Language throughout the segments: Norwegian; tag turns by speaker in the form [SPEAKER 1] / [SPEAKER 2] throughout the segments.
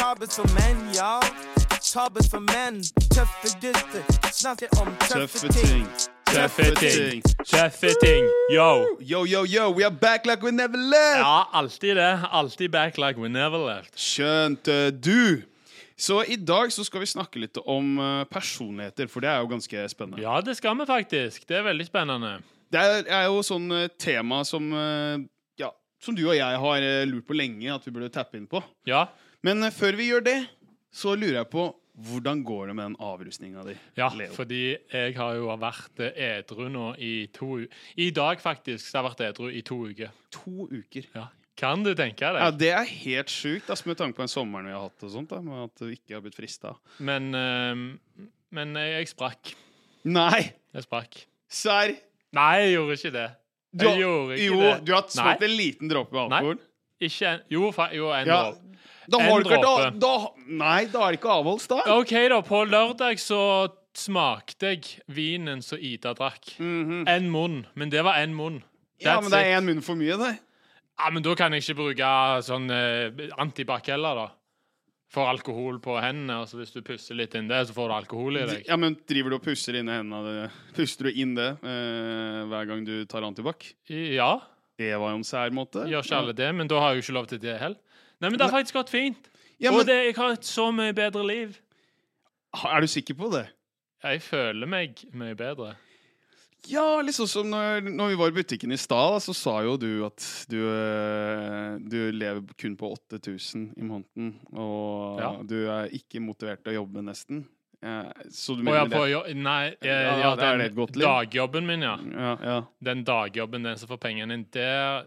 [SPEAKER 1] gentlemen, y'all. Tabber for menn, tøffe gutter. Snakker om tøffe ting.
[SPEAKER 2] Tøffe ting. Tøffe ting. Yo.
[SPEAKER 3] Yo, yo, yo, we are back like we never left!
[SPEAKER 2] Ja, alltid det. Alltid back like we never left.
[SPEAKER 3] Skjønte du? Så i dag så skal vi snakke litt om eh, personligheter, for det er jo ganske spennende.
[SPEAKER 2] Ja, det skal vi faktisk. Det er veldig spennende.
[SPEAKER 3] Det er, er jo sånn eh, tema som eh, Ja, som du og jeg har eh, lurt på lenge at vi burde tappe inn på.
[SPEAKER 2] Ja.
[SPEAKER 3] Men eh, før vi gjør det, så lurer jeg på hvordan går det med den avrusninga di?
[SPEAKER 2] Ja,
[SPEAKER 3] Leo?
[SPEAKER 2] fordi jeg har jo vært edru nå i to u I dag, faktisk, så har jeg vært edru i to uker.
[SPEAKER 3] to uker.
[SPEAKER 2] Ja. Kan du tenke
[SPEAKER 3] Ja,
[SPEAKER 2] deg?
[SPEAKER 3] Det er helt sjukt, ass, med tanke på den sommeren vi har hatt. og sånt da, med At du ikke har blitt frista.
[SPEAKER 2] Men, ehm, men jeg, jeg sprakk.
[SPEAKER 3] Nei!
[SPEAKER 2] Jeg sprakk.
[SPEAKER 3] Serr!
[SPEAKER 2] Nei, jeg gjorde ikke det.
[SPEAKER 3] Du,
[SPEAKER 2] Jeg gjorde ikke
[SPEAKER 3] jo,
[SPEAKER 2] det.
[SPEAKER 3] du har smakt
[SPEAKER 2] Nei,
[SPEAKER 3] en liten dråpe
[SPEAKER 2] Nei.
[SPEAKER 3] alkohol.
[SPEAKER 2] ikke en Jo, fa jo en
[SPEAKER 3] Ja.
[SPEAKER 2] dråpe.
[SPEAKER 3] Da
[SPEAKER 2] En
[SPEAKER 3] har du ikke vært
[SPEAKER 2] dråpe.
[SPEAKER 3] da, da, Nei, da er det ikke avholds, da.
[SPEAKER 2] OK, da. På lørdag så smakte jeg vinen som Ida drakk. En munn. Men det var en munn.
[SPEAKER 3] Mm. Mhm. Ja,
[SPEAKER 2] That's
[SPEAKER 3] men det
[SPEAKER 2] it.
[SPEAKER 3] er én munn for mye, det.
[SPEAKER 2] Ja, men da kan jeg ikke bruke sånn eh, antibac heller, da. Får alkohol på hendene, og så hvis du pusser litt inn det, så får du alkohol i deg.
[SPEAKER 3] Ja, men Driver du og pusser inn i hendene det- Puster du inn det eh, hver gang du tar antibac?
[SPEAKER 2] Ja,
[SPEAKER 3] Det var jo en sær måte.
[SPEAKER 2] gjør ikke alle det, men da har jeg jo ikke lov til det heller. Nei, men det har faktisk gått fint.
[SPEAKER 3] Ja,
[SPEAKER 2] Og
[SPEAKER 3] men,
[SPEAKER 2] det, jeg har et så mye bedre liv.
[SPEAKER 3] Er du sikker på det?
[SPEAKER 2] Jeg føler meg mye bedre.
[SPEAKER 3] Ja, litt sånn som når, når vi var i butikken i stad, da, så sa jo du at du, eh, du lever kun på 8000 i måneden, og
[SPEAKER 2] Ja.
[SPEAKER 3] du er ikke motivert til å jobbe nesten. Eh, Så du
[SPEAKER 2] Å ja,
[SPEAKER 3] mener
[SPEAKER 2] på
[SPEAKER 3] det?
[SPEAKER 2] jo Nei,
[SPEAKER 3] Ja,
[SPEAKER 2] eh, ja,
[SPEAKER 3] det er det et
[SPEAKER 2] den
[SPEAKER 3] godt liv.
[SPEAKER 2] dagjobben min, ja.
[SPEAKER 3] Ja, ja.
[SPEAKER 2] Den dagjobben, den som får pengene inn, der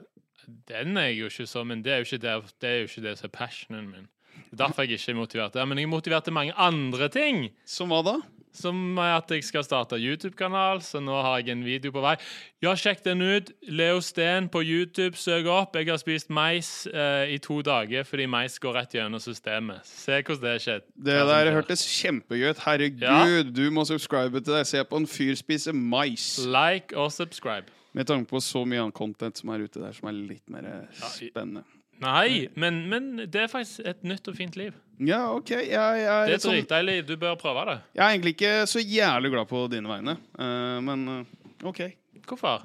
[SPEAKER 2] Den er jeg jo ikke så Men det er jo ikke det, det, er jo ikke det som er passionen min. Det er Derfor jeg ikke er motivert der. Men jeg er motivert til mange andre ting.
[SPEAKER 3] Som hva da?
[SPEAKER 2] Som er at jeg skal starte YouTube-kanal, så nå har jeg en video på vei. Ja, sjekk den ut. Leo Steen på YouTube, søk opp. Jeg har spist mais eh, i to dager fordi mais går rett gjennom systemet. Se hvordan det skjedde.
[SPEAKER 3] Det der hørtes kjempegøy ut. Herregud,
[SPEAKER 2] Ja.
[SPEAKER 3] du må subscribe til deg. Se på en fyr spise mais.
[SPEAKER 2] Like og subscribe.
[SPEAKER 3] Med tanke på så mye annet content som er ute der, som er litt mer eh, spennende.
[SPEAKER 2] Nei, men, men det er faktisk et nytt og fint liv.
[SPEAKER 3] Ja, OK. Jeg, jeg, er
[SPEAKER 2] Det
[SPEAKER 3] litt
[SPEAKER 2] er
[SPEAKER 3] sånn,
[SPEAKER 2] dritdeilig. Du bør prøve det.
[SPEAKER 3] jeg er egentlig ikke så jævlig glad på dine vegne, eh, men eh, OK.
[SPEAKER 2] Hvorfor?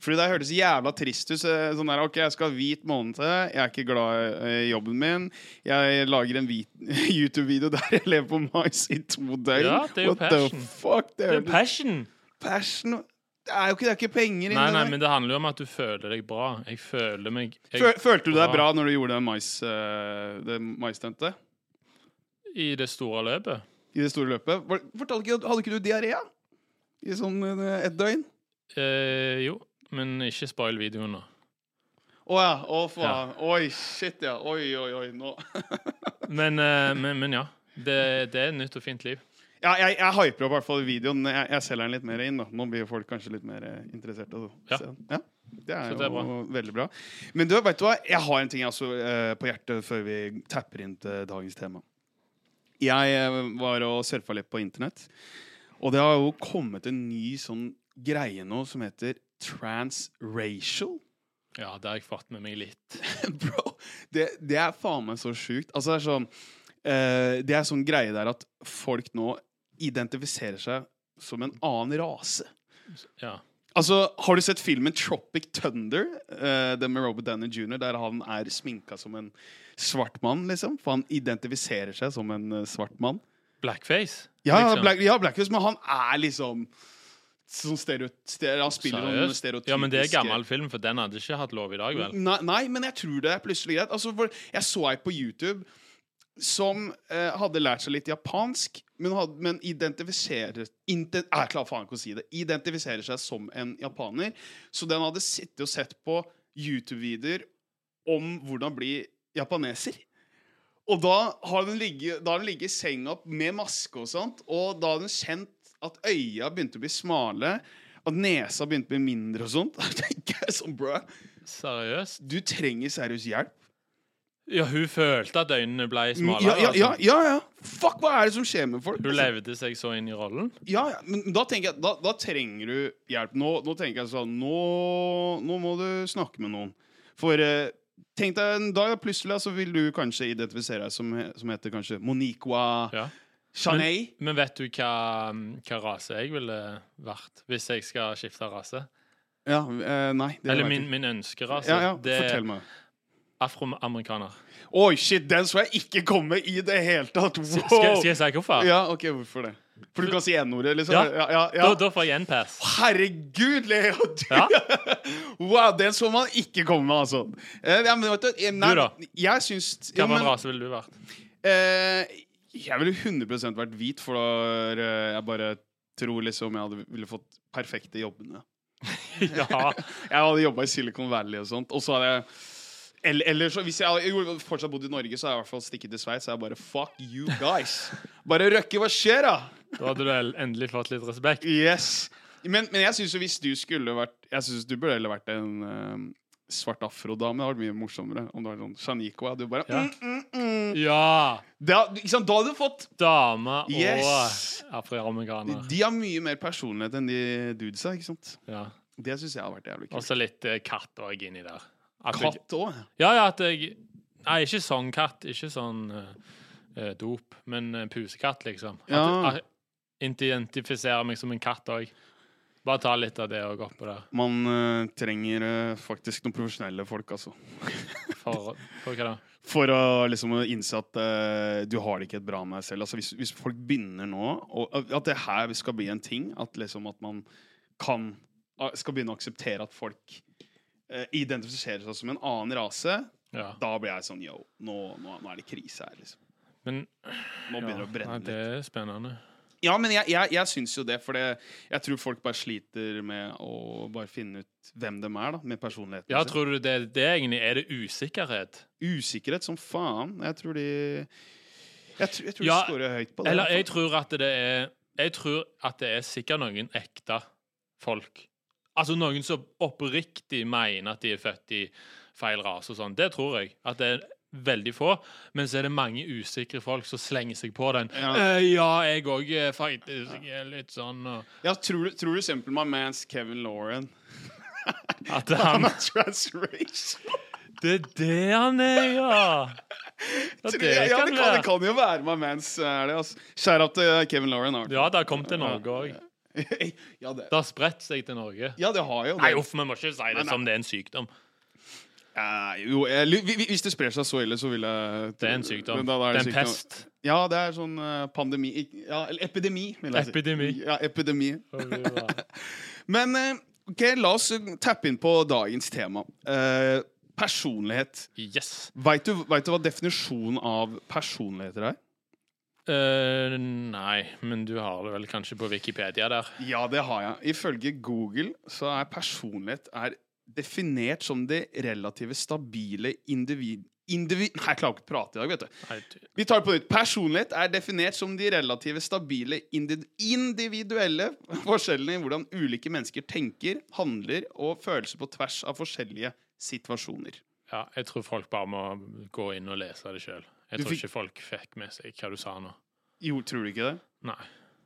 [SPEAKER 3] Fordi det hørtes jævla trist ut. så- Sånn der, ok, Jeg skal ha hvit måned til. Jeg er ikke glad i eh, jobben min. Jeg lager en hvit YouTube-video der jeg lever på mais i to døgn.
[SPEAKER 2] Ja, det er jo
[SPEAKER 3] What
[SPEAKER 2] passion.
[SPEAKER 3] the fuck? Det
[SPEAKER 2] Det er
[SPEAKER 3] hørtes
[SPEAKER 2] passion.
[SPEAKER 3] passion Det er jo ikke, det er ikke penger inni
[SPEAKER 2] Nei, nei,
[SPEAKER 3] der.
[SPEAKER 2] men det handler jo om at du føler deg bra. Jeg føler meg jeg,
[SPEAKER 3] Fø- Følte du deg bra når du gjorde den mais, eh, det maistuntet?
[SPEAKER 2] I det store løpet.
[SPEAKER 3] I det store løpet? Var- Fortalte ikke, du- hadde ikke du diaré? I sånn eh, et døgn?
[SPEAKER 2] Eh, jo, men ikke spoil videoen nå.
[SPEAKER 3] Å ja. Å faen. Oi, shit, ja. Oi, oi, oi. Nå.
[SPEAKER 2] Men, eh, men, men ja. Det, det er et nytt og fint liv.
[SPEAKER 3] Ja, jeg, jeg hyper opp i hvert fall videoen. Jeg, jeg selger den litt mer inn. da Nå blir folk kanskje litt mer eh, interessert. Og,
[SPEAKER 2] Ja.
[SPEAKER 3] ja, det er
[SPEAKER 2] Så det er
[SPEAKER 3] jo veldig bra. Men du, vet du hva? Jeg har en ting altså, eh, på hjertet før vi tapper inn til dagens tema. Jeg eh, var og surfa litt på internett, og det har jo kommet en ny sånn greie nå som heter transracial.
[SPEAKER 2] Ja, det har jeg fått med meg litt.
[SPEAKER 3] Bro, det, det er faen meg så sjukt. Altså, det er sånn eh, Det er sånn greie der at folk nå identifiserer seg som en annen rase.
[SPEAKER 2] Ja.
[SPEAKER 3] Altså, Har du sett filmen Tropic Thunder? Eh, den med Robert Danner jr., der han er sminka som en svart mann, liksom? For han identifiserer seg som en eh, svart mann.
[SPEAKER 2] Blackface.
[SPEAKER 3] Ja,
[SPEAKER 2] liksom.
[SPEAKER 3] Black, ja Blackface, men han er liksom sånn stereo, stereo, Han spiller sånn noen
[SPEAKER 2] Seriøst?
[SPEAKER 3] stereotypiske
[SPEAKER 2] Ja, men det er gammel film, for den hadde ikke hatt lov i dag, vel?
[SPEAKER 3] Nei, nei, men jeg tror det er plutselig greit. Altså, for jeg så ei på YouTube som eh, hadde lært seg litt japansk, men, hadde, men identifiserer inte, Nei, Jeg klarer faen ikke å si det. Identifiserer seg som en japaner. Så den hadde sittet og sett på YouTube-videoer om hvordan bli japaneser. Og da har den ligget, da har den ligget i senga med maske og sånt, og da har den kjent at øya begynte å bli smale, at nesa begynte å bli mindre og sånt. Da tenker jeg sånn, bro,
[SPEAKER 2] Seriøst?
[SPEAKER 3] du trenger seriøs hjelp.
[SPEAKER 2] Ja, hun følte at øynene ble
[SPEAKER 3] ja,
[SPEAKER 2] smalere.
[SPEAKER 3] Mm, ja, ja,
[SPEAKER 2] altså.
[SPEAKER 3] ja, ja. Fuck, hva er det som skjer med folk?
[SPEAKER 2] Hun
[SPEAKER 3] altså?
[SPEAKER 2] levde seg så inn i rollen.
[SPEAKER 3] Ja, ja, men da tenker jeg Da, da trenger du hjelp. Nå, nå tenker jeg sånn Nå, nå må du snakke med noen. For eh, Tenk deg en dag, da, plutselig så vil du kanskje identifisere deg som, som heter kanskje Moniqua
[SPEAKER 2] Ja.
[SPEAKER 3] Chaney.
[SPEAKER 2] Men vet du hva, hva rase jeg ville vært hvis jeg skal skifte rase?
[SPEAKER 3] Ja, eh, nei. det
[SPEAKER 2] Eller
[SPEAKER 3] vet
[SPEAKER 2] min,
[SPEAKER 3] jeg
[SPEAKER 2] min ønskerase.
[SPEAKER 3] ikke. ja, ja,
[SPEAKER 2] det
[SPEAKER 3] Fortell
[SPEAKER 2] er
[SPEAKER 3] meg.
[SPEAKER 2] afroamerikaner.
[SPEAKER 3] Oi, shit, den så jeg ikke komme i det hele tatt! Wow.
[SPEAKER 2] Skal, skal jeg si hvorfor?
[SPEAKER 3] Ja, ok, hvorfor det? For du kan si n-ordet, liksom?
[SPEAKER 2] Ja.
[SPEAKER 3] Ja, ja, ja.
[SPEAKER 2] Da, da får jeg en pass.
[SPEAKER 3] Herregud, Leo! Du.
[SPEAKER 2] Ja.
[SPEAKER 3] wow, den så man ikke komme med, altså. Eh, ja, men vet du, eh, nei,
[SPEAKER 2] Du da?
[SPEAKER 3] Jeg syns ja,
[SPEAKER 2] Hvilken
[SPEAKER 3] men,
[SPEAKER 2] rase ville du vært?
[SPEAKER 3] eh, Jeg ville 100 vært hvit, for da eh, jeg bare tror liksom jeg hadde ville fått perfekte jobbene.
[SPEAKER 2] Ja.
[SPEAKER 3] Jeg hadde jobba i Silicon Valley og sånt. Og så hadde jeg eller, eller så, Hvis jeg hadde jo, fortsatt bodd i Norge, så hadde jeg i hvert fall stikket til Sveits. Så jeg bare Fuck you guys! Bare Røkke, hva skjer, da?
[SPEAKER 2] Da hadde du el- endelig fått litt respekt.
[SPEAKER 3] Yes. Men, men jeg syns jo hvis du skulle vært Jeg synes du burde heller vært en eh, svart afrodame. Det hadde vært mye morsommere om du var sånn Shaniqua. Du bare
[SPEAKER 2] Ja.
[SPEAKER 3] mm, mm, mm.
[SPEAKER 2] Ja!
[SPEAKER 3] Da, ikke sant, da hadde du fått
[SPEAKER 2] Dame og
[SPEAKER 3] Yes. de,
[SPEAKER 2] afroamerikaner.
[SPEAKER 3] de har mye mer personlighet enn de dudesa, ikke sant?
[SPEAKER 2] Ja.
[SPEAKER 3] Det syns jeg hadde vært jævlig
[SPEAKER 2] Og
[SPEAKER 3] kult.
[SPEAKER 2] så litt eh, katt òg inni der. At jeg-
[SPEAKER 3] Altså, Katt òg.
[SPEAKER 2] Ja, ja, at jeg Nei, ikke sånn katt. Ikke sånn eh, eh, dop, men eh, pusekatt, liksom. At,
[SPEAKER 3] Ja.
[SPEAKER 2] at jeg identifiserer meg som en katt òg. Bare ta litt av det og gå oppå der.
[SPEAKER 3] Man eh, trenger eh, faktisk noen profesjonelle folk, altså.
[SPEAKER 2] For, for hva da?
[SPEAKER 3] For å liksom innse at eh, du har det ikke et bra med deg selv. Altså, hvis, hvis folk begynner nå, og at det her skal bli en ting, at liksom at man kan skal begynne å akseptere at folk eh, identifiserer seg som en annen rase,
[SPEAKER 2] Ja.
[SPEAKER 3] da blir jeg sånn yo, nå, nå, nå er det krise her, liksom.
[SPEAKER 2] Men
[SPEAKER 3] Nå
[SPEAKER 2] ja,
[SPEAKER 3] begynner det å brenne
[SPEAKER 2] nei, det
[SPEAKER 3] litt.
[SPEAKER 2] er spennende.
[SPEAKER 3] Ja, men jeg, jeg, jeg syns jo det, for det, jeg tror folk bare sliter med å bare finne ut hvem de er, da, med personligheten
[SPEAKER 2] Ja, tror du det, det egentlig er det usikkerhet?
[SPEAKER 3] Usikkerhet som faen. Jeg tror de Jeg, tror- jeg tror
[SPEAKER 2] Ja,
[SPEAKER 3] de scorer høyt på det.
[SPEAKER 2] Eller jeg tror at det er Jeg tror at det er sikkert noen ekte folk. Altså noen som oppriktig mener at de er født i feil rase og sånn. Det tror jeg. At det er veldig få. Men så er det mange usikre folk som slenger seg på den. Ja,
[SPEAKER 3] Ja.
[SPEAKER 2] ja jeg òg er faktisk er litt sånn og
[SPEAKER 3] Ja, tror, du- tror du simpel my mans Kevin Lauren
[SPEAKER 2] At han
[SPEAKER 3] Han er transracial?
[SPEAKER 2] Det er det han er, ja! Ja,
[SPEAKER 3] Tror-
[SPEAKER 2] det
[SPEAKER 3] ja, det kan,
[SPEAKER 2] kan
[SPEAKER 3] det
[SPEAKER 2] være.
[SPEAKER 3] kan jo være my mans er det, altså. Shout out til Kevin Lauren. Arthur.
[SPEAKER 2] Ja, det har kommet til Norge òg.
[SPEAKER 3] ja, det,
[SPEAKER 2] Det har spredt seg til Norge.
[SPEAKER 3] ja, det har jo det.
[SPEAKER 2] Nei, uff, vi må ikke si
[SPEAKER 3] Nei,
[SPEAKER 2] det
[SPEAKER 3] nei.
[SPEAKER 2] som det er en sykdom.
[SPEAKER 3] Eh, jo, jeg, lu- hvi- hvi- hvis det sprer seg så ille, så vil jeg
[SPEAKER 2] Det er en sykdom.
[SPEAKER 3] Men da- da
[SPEAKER 2] Det er
[SPEAKER 3] det
[SPEAKER 2] en pest.
[SPEAKER 3] Ja, det er sånn eh, pandemi Ik- Ja, eller epidemi, vil jeg si.
[SPEAKER 2] Epidemi.
[SPEAKER 3] Ja, epidemi.
[SPEAKER 2] Ja,
[SPEAKER 3] Men eh, OK, la oss eh, tappe inn på dagens tema. Eh, personlighet.
[SPEAKER 2] Yes.
[SPEAKER 3] Veit du, vet du hva definisjonen av personligheter er?
[SPEAKER 2] Eh, nei, men du har det vel kanskje på Wikipedia der.
[SPEAKER 3] Ja, det har jeg. Ifølge Google så er personlighet er definert som det relative stabile individ... individ Nei, jeg klarer ikke å prate i dag, vet du.
[SPEAKER 2] Nei, du-
[SPEAKER 3] Vi tar det på nytt. Personlighet er definert som de relative stabile indi individuelle forskjellene i hvordan ulike mennesker tenker, handler og følelser på tvers av forskjellige situasjoner.
[SPEAKER 2] Ja, jeg tror folk bare må gå inn og lese det sjøl. Jeg
[SPEAKER 3] Du
[SPEAKER 2] tror
[SPEAKER 3] fikk-
[SPEAKER 2] ikke folk fikk med seg hva du sa nå.
[SPEAKER 3] Jo, tror du ikke det?
[SPEAKER 2] Nei.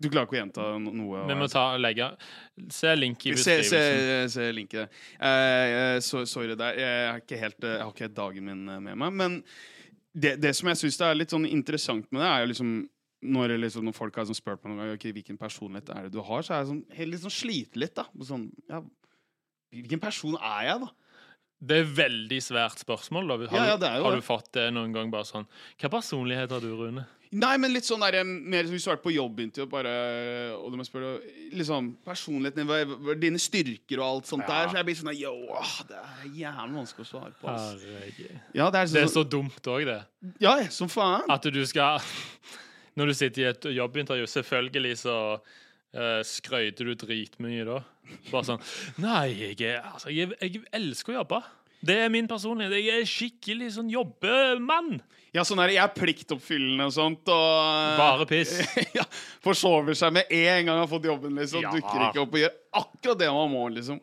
[SPEAKER 3] Du klarer ikke å altså. gjenta no- noe? av
[SPEAKER 2] Vi må ta legge Se link i
[SPEAKER 3] Se,
[SPEAKER 2] beskrivelsen.
[SPEAKER 3] se, se linket. Eh, eh, så- sorry der. Jeg har ikke helt, eh, jeg har ikke helt dagen min eh, med meg. Men det, det som jeg syns er litt sånn interessant med det, er jo liksom når, liksom, når folk har sånn spurt meg noen ganger okay, hvilken personlighet er det du har, så er jeg sånn, helt litt sånn sliter litt. da Og sånn, ja, Hvilken person er jeg, da?
[SPEAKER 2] Det er veldig svært spørsmål. Da. Har,
[SPEAKER 3] Ja, ja,
[SPEAKER 2] du-
[SPEAKER 3] det er jo
[SPEAKER 2] har du
[SPEAKER 3] det.
[SPEAKER 2] fått det noen gang bare sånn Hva personlighet har du, Rune?
[SPEAKER 3] Nei, men litt sånn der, eh, mer som hvis du har vært på jobbintervju og bare eh, Og du må spørre liksom, personligheten din, hva- hva- dine styrker og alt sånt
[SPEAKER 2] Ja.
[SPEAKER 3] der. Så jeg blir sånn der, Yo, åh, det er jævlig vanskelig å svare på. ass.
[SPEAKER 2] Herregud.
[SPEAKER 3] Ja, det er
[SPEAKER 2] Det er
[SPEAKER 3] sånn,
[SPEAKER 2] så dumt òg, det.
[SPEAKER 3] ja, som faen.
[SPEAKER 2] At du skal Når du sitter i et jobbintervju, selvfølgelig så eh, skrøyter du dritmye da. Bare sånn Nei, jeg, er, altså, jeg, jeg elsker å jobbe. Det er min personlighet. Jeg er skikkelig sånn jobbemann.
[SPEAKER 3] Ja, sånn er det. Jeg er pliktoppfyllende og sånt. Og
[SPEAKER 2] Bare piss.
[SPEAKER 3] ja, Forsover seg med en gang han har fått jobben. liksom
[SPEAKER 2] Ja.
[SPEAKER 3] Dukker ikke opp og gjør akkurat det man må. liksom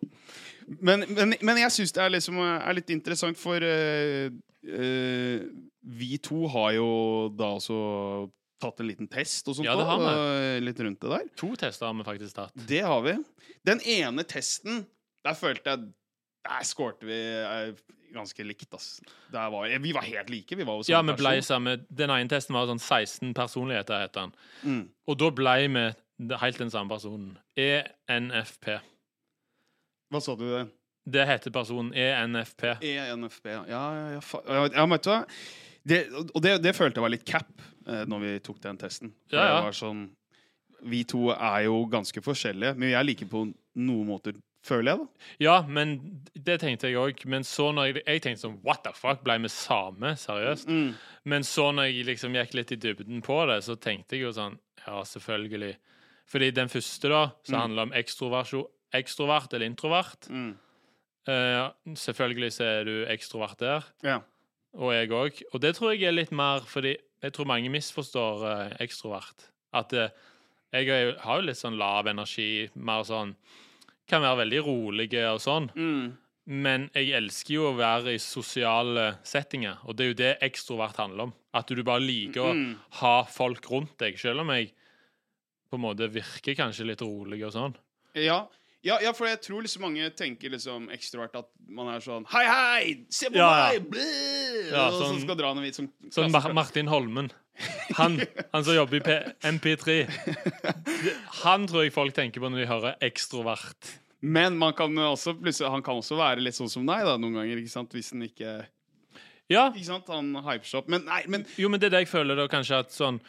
[SPEAKER 3] Men, men, men jeg syns det er, liksom, er litt interessant, for eh, eh, vi to har jo da også tatt en liten test og sånt.
[SPEAKER 2] Ja, det har
[SPEAKER 3] da, og litt rundt det der.
[SPEAKER 2] To tester har vi faktisk tatt.
[SPEAKER 3] Det har vi. Den ene testen, der følte jeg Der skårte vi eh, ganske likt, ass. Der var, vi var helt like. Vi var jo
[SPEAKER 2] Ja,
[SPEAKER 3] samme
[SPEAKER 2] vi ble
[SPEAKER 3] person.
[SPEAKER 2] samme Den ene testen var sånn 16 personligheter, het den.
[SPEAKER 3] Mm.
[SPEAKER 2] Og da ble vi det- helt den samme personen. E ENFP.
[SPEAKER 3] Hva sa du? det?
[SPEAKER 2] Det heter personen E ENFP.
[SPEAKER 3] E ENFP, ja. Ja, ja, ja, fa- ja, ja men vet du hva? Det, og det, det følte jeg var litt cap eh, når vi tok den testen. For
[SPEAKER 2] Ja, ja.
[SPEAKER 3] Det var sånn, vi to er jo ganske forskjellige, men vi er like på noen måter, føler jeg, da.
[SPEAKER 2] Ja, men det tenkte jeg òg. Men så når jeg, jeg tenkte sånn What the fuck? Ble vi same? Seriøst?
[SPEAKER 3] Mm,
[SPEAKER 2] Men så når jeg liksom gikk litt i dybden på det, så tenkte jeg jo sånn Ja, selvfølgelig. Fordi den første, da, som handler om ekstroversjon Ekstrovert eller introvert.
[SPEAKER 3] Mm.
[SPEAKER 2] Eh, selvfølgelig så er du ekstrovert der.
[SPEAKER 3] Ja.
[SPEAKER 2] Og jeg òg. Og det tror jeg er litt mer fordi jeg tror mange misforstår eh, ekstrovert. At eh, jeg er, jo- har jo litt sånn lav energi, mer sånn Kan være veldig rolig og sånn.
[SPEAKER 3] Mm.
[SPEAKER 2] Men jeg elsker jo å være i sosiale settinger, og det er jo det ekstrovert handler om. At du bare liker
[SPEAKER 3] Mm.
[SPEAKER 2] å ha folk rundt deg, selv om jeg på en måte virker kanskje litt rolig og sånn.
[SPEAKER 3] Ja. Ja, ja, for jeg tror liksom mange tenker liksom ekstrovert at man er sånn Hei, hei! Se på
[SPEAKER 2] Ja, ja.
[SPEAKER 3] meg! Blæh!
[SPEAKER 2] Ja,
[SPEAKER 3] og så
[SPEAKER 2] sånn-
[SPEAKER 3] skal dra noe vits. Sånn,
[SPEAKER 2] Sånn Mar Martin Holmen. Han, han som jobber i P MP3. Han tror jeg folk tenker på når de hører ekstrovert.
[SPEAKER 3] Men man kan også, plutselig, han kan også være litt sånn som deg da, noen ganger, ikke sant? Hvis han ikke
[SPEAKER 2] Ja,
[SPEAKER 3] Ikke sant? Han hyper seg opp. Men nei, men
[SPEAKER 2] jo, men det er det jeg føler da kanskje at sånn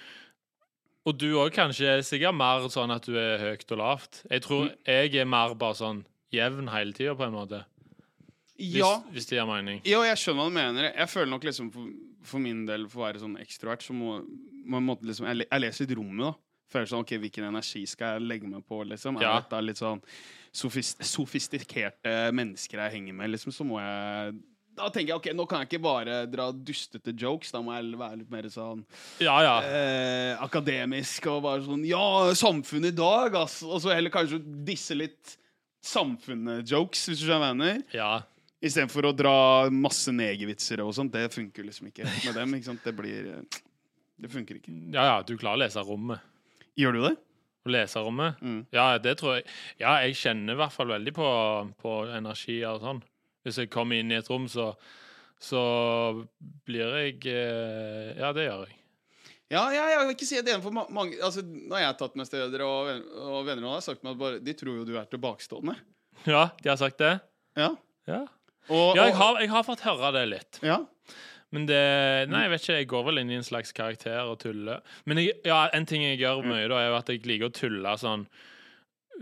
[SPEAKER 2] Og du òg kanskje er sikkert mer sånn at du er høyt og lavt. Jeg tror jeg er mer bare sånn jevn hele tida, på en måte. Hvis,
[SPEAKER 3] ja.
[SPEAKER 2] hvis det gir mening.
[SPEAKER 3] Jo, jeg skjønner hva du mener. Jeg føler nok liksom for, for min del, for å være sånn ekstrovert, så må man måtte liksom Jeg, le- jeg leser litt rommet, da. Føler sånn OK, hvilken energi skal jeg legge meg på, liksom?
[SPEAKER 2] Ja.
[SPEAKER 3] Er dette litt sånn sofist, sofistikerte mennesker jeg henger med, liksom, så må jeg da tenker jeg ok, nå kan jeg ikke bare dra dustete jokes. Da må jeg være litt mer sånn
[SPEAKER 2] Ja, ja.
[SPEAKER 3] eh, akademisk og bare sånn Ja, samfunnet i dag, ass! Og så heller kanskje disse litt samfunnet-jokes, hvis du skjønner hva jeg mener.
[SPEAKER 2] ja.
[SPEAKER 3] Istedenfor å dra masse negervitser og sånt. Det funker liksom ikke med dem. ikke sant? Det blir eh, Det funker ikke.
[SPEAKER 2] Ja, ja, du klarer å lese rommet.
[SPEAKER 3] Gjør du det?
[SPEAKER 2] Å lese rommet?
[SPEAKER 3] Mm.
[SPEAKER 2] Ja, det tror jeg. Ja, jeg kjenner i hvert fall veldig på, på energier og sånn. Hvis jeg kommer inn i et rom, så, så blir jeg eh, Ja, det gjør jeg.
[SPEAKER 3] Ja, ja, jeg vil ikke si det for ma mange Altså, Når jeg har tatt meg steder, og, ven- og venner nå har sagt meg at bare, de tror jo du er tilbakestående.
[SPEAKER 2] Ja, de har sagt det?
[SPEAKER 3] Ja.
[SPEAKER 2] Ja,
[SPEAKER 3] Og,
[SPEAKER 2] ja jeg,
[SPEAKER 3] og-
[SPEAKER 2] har, jeg har fått høre det litt.
[SPEAKER 3] ja.
[SPEAKER 2] Men det Nei, jeg vet ikke. Jeg går vel inn i en slags karakter og tuller. Men jeg, ja, en ting jeg gjør
[SPEAKER 3] Mm.
[SPEAKER 2] mye, da, er jo at jeg liker å tulle sånn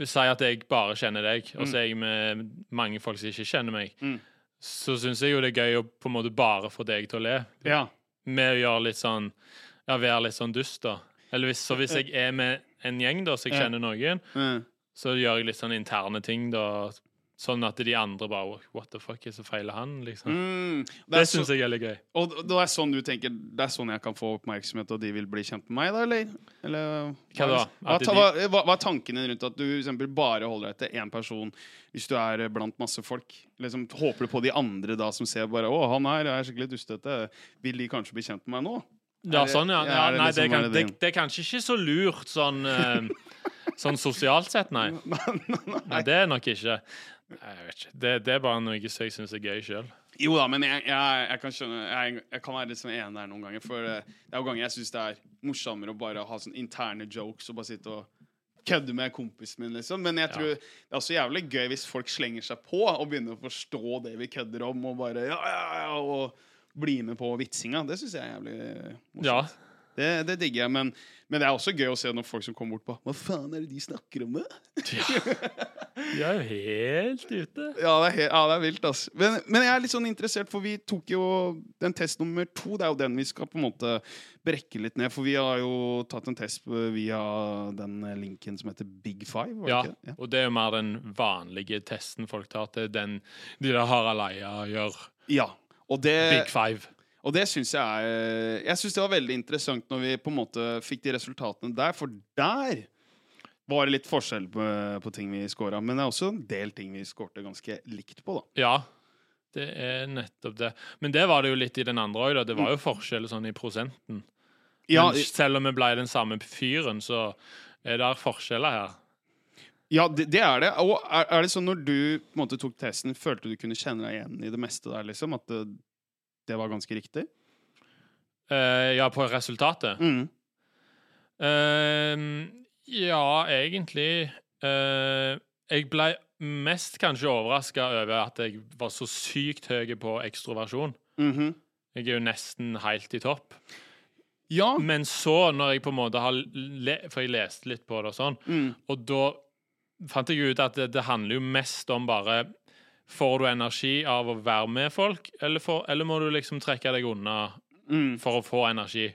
[SPEAKER 2] Si at jeg bare kjenner deg, og så er jeg med mange folk som ikke kjenner meg.
[SPEAKER 3] Mm.
[SPEAKER 2] Så syns jeg jo det er gøy å på en måte bare få deg til å le.
[SPEAKER 3] ja.
[SPEAKER 2] med å gjøre litt sånn Ja, være litt sånn dust, da. Eller hvis, så hvis jeg er med en gjeng, da, så jeg
[SPEAKER 3] Ja.
[SPEAKER 2] kjenner noen,
[SPEAKER 3] Mm.
[SPEAKER 2] så gjør jeg litt sånn interne ting, da. Sånn at de andre bare What the fuck, er så feiler han, liksom?
[SPEAKER 3] Mm. Det
[SPEAKER 2] Det
[SPEAKER 3] er så,
[SPEAKER 2] syns jeg er litt gøy.
[SPEAKER 3] og det er sånn du tenker Det er sånn jeg kan få oppmerksomhet, og de vil bli kjent med meg, da, eller? eller
[SPEAKER 2] Hva da?
[SPEAKER 3] Hva,
[SPEAKER 2] At de-
[SPEAKER 3] ta- hva, hva, hva er tanken din rundt at du for eksempel, bare holder deg til én person hvis du er eh, blant masse folk? Liksom, håper du på de andre da som ser bare 'Å, han her er skikkelig dustete'. Vil de kanskje bli kjent med meg nå?
[SPEAKER 2] Ja,
[SPEAKER 3] Er det-
[SPEAKER 2] sånn, ja.
[SPEAKER 3] ja,
[SPEAKER 2] ja
[SPEAKER 3] er det
[SPEAKER 2] nei,
[SPEAKER 3] liksom
[SPEAKER 2] det, kan,
[SPEAKER 3] bare
[SPEAKER 2] det,
[SPEAKER 3] din?
[SPEAKER 2] det er kanskje ikke så lurt sånn eh, Sånn sosialt sett, nei. Nei, det er nok ikke. Nei, Jeg vet ikke. Det, det er bare noe som jeg syns er gøy sjøl.
[SPEAKER 3] Jo da, men jeg, jeg, jeg kan skjønne jeg, jeg kan være litt sånn enig der noen ganger. For eh, det er jo ganger jeg syns det er morsommere å bare ha sånne interne jokes og bare sitte og kødde med kompisen min, liksom. Men jeg tror det er også jævlig gøy hvis folk slenger seg på og begynner å forstå det vi kødder om, og bare ja, ja, ja, og bli med på vitsinga. Det syns jeg er jævlig morsomt.
[SPEAKER 2] Ja.
[SPEAKER 3] Det, det digger jeg, men, men det er også gøy å se noen folk som kommer bort på Hva faen er det de snakker om, det?
[SPEAKER 2] Sånn De er jo helt ute.
[SPEAKER 3] Ja, det er, he- ja, det er vilt, ass. Men, men jeg er litt sånn interessert, for vi tok jo den test nummer to. Det er jo den vi skal på en måte brekke litt ned, for vi har jo tatt en test via den linken som heter Big Five, var det
[SPEAKER 2] Ja,
[SPEAKER 3] ikke det? Ja.
[SPEAKER 2] og det er jo mer den vanlige testen folk tar til den de der Harald Eia gjør.
[SPEAKER 3] ja. Og det,
[SPEAKER 2] Big five.
[SPEAKER 3] og det syns jeg er Jeg syns det var veldig interessant når vi på en måte fikk de resultatene der, for der var det litt forskjell på, på ting vi scora. Men det er også en del ting vi scorte ganske likt på, da.
[SPEAKER 2] Ja, det er nettopp det. Men det var det jo litt i den andre òg, da. Det var jo forskjell sånn i prosenten. Men
[SPEAKER 3] Ja,
[SPEAKER 2] selv om vi ble den samme fyren, så er det forskjeller her.
[SPEAKER 3] Ja, det, det er det. Og er, er det sånn når du på en måte, tok testen, følte du kunne kjenne deg igjen i det meste der, liksom? At det, det var ganske riktig?
[SPEAKER 2] Eh, ja, på resultatet.
[SPEAKER 3] Mm.
[SPEAKER 2] Eh, ja, egentlig. Eh, jeg ble mest kanskje overraska over at jeg var så sykt høy på ekstroversjon.
[SPEAKER 3] Mhm.
[SPEAKER 2] Jeg er jo nesten helt i topp.
[SPEAKER 3] Ja.
[SPEAKER 2] Men så, når jeg på en måte har le For jeg leste litt på det og sånn,
[SPEAKER 3] Mm.
[SPEAKER 2] og da fant jeg ut at det, det handler jo mest om bare Får du energi av å være med folk, eller, får- eller må du liksom trekke deg unna
[SPEAKER 3] Mm.
[SPEAKER 2] for å få energi?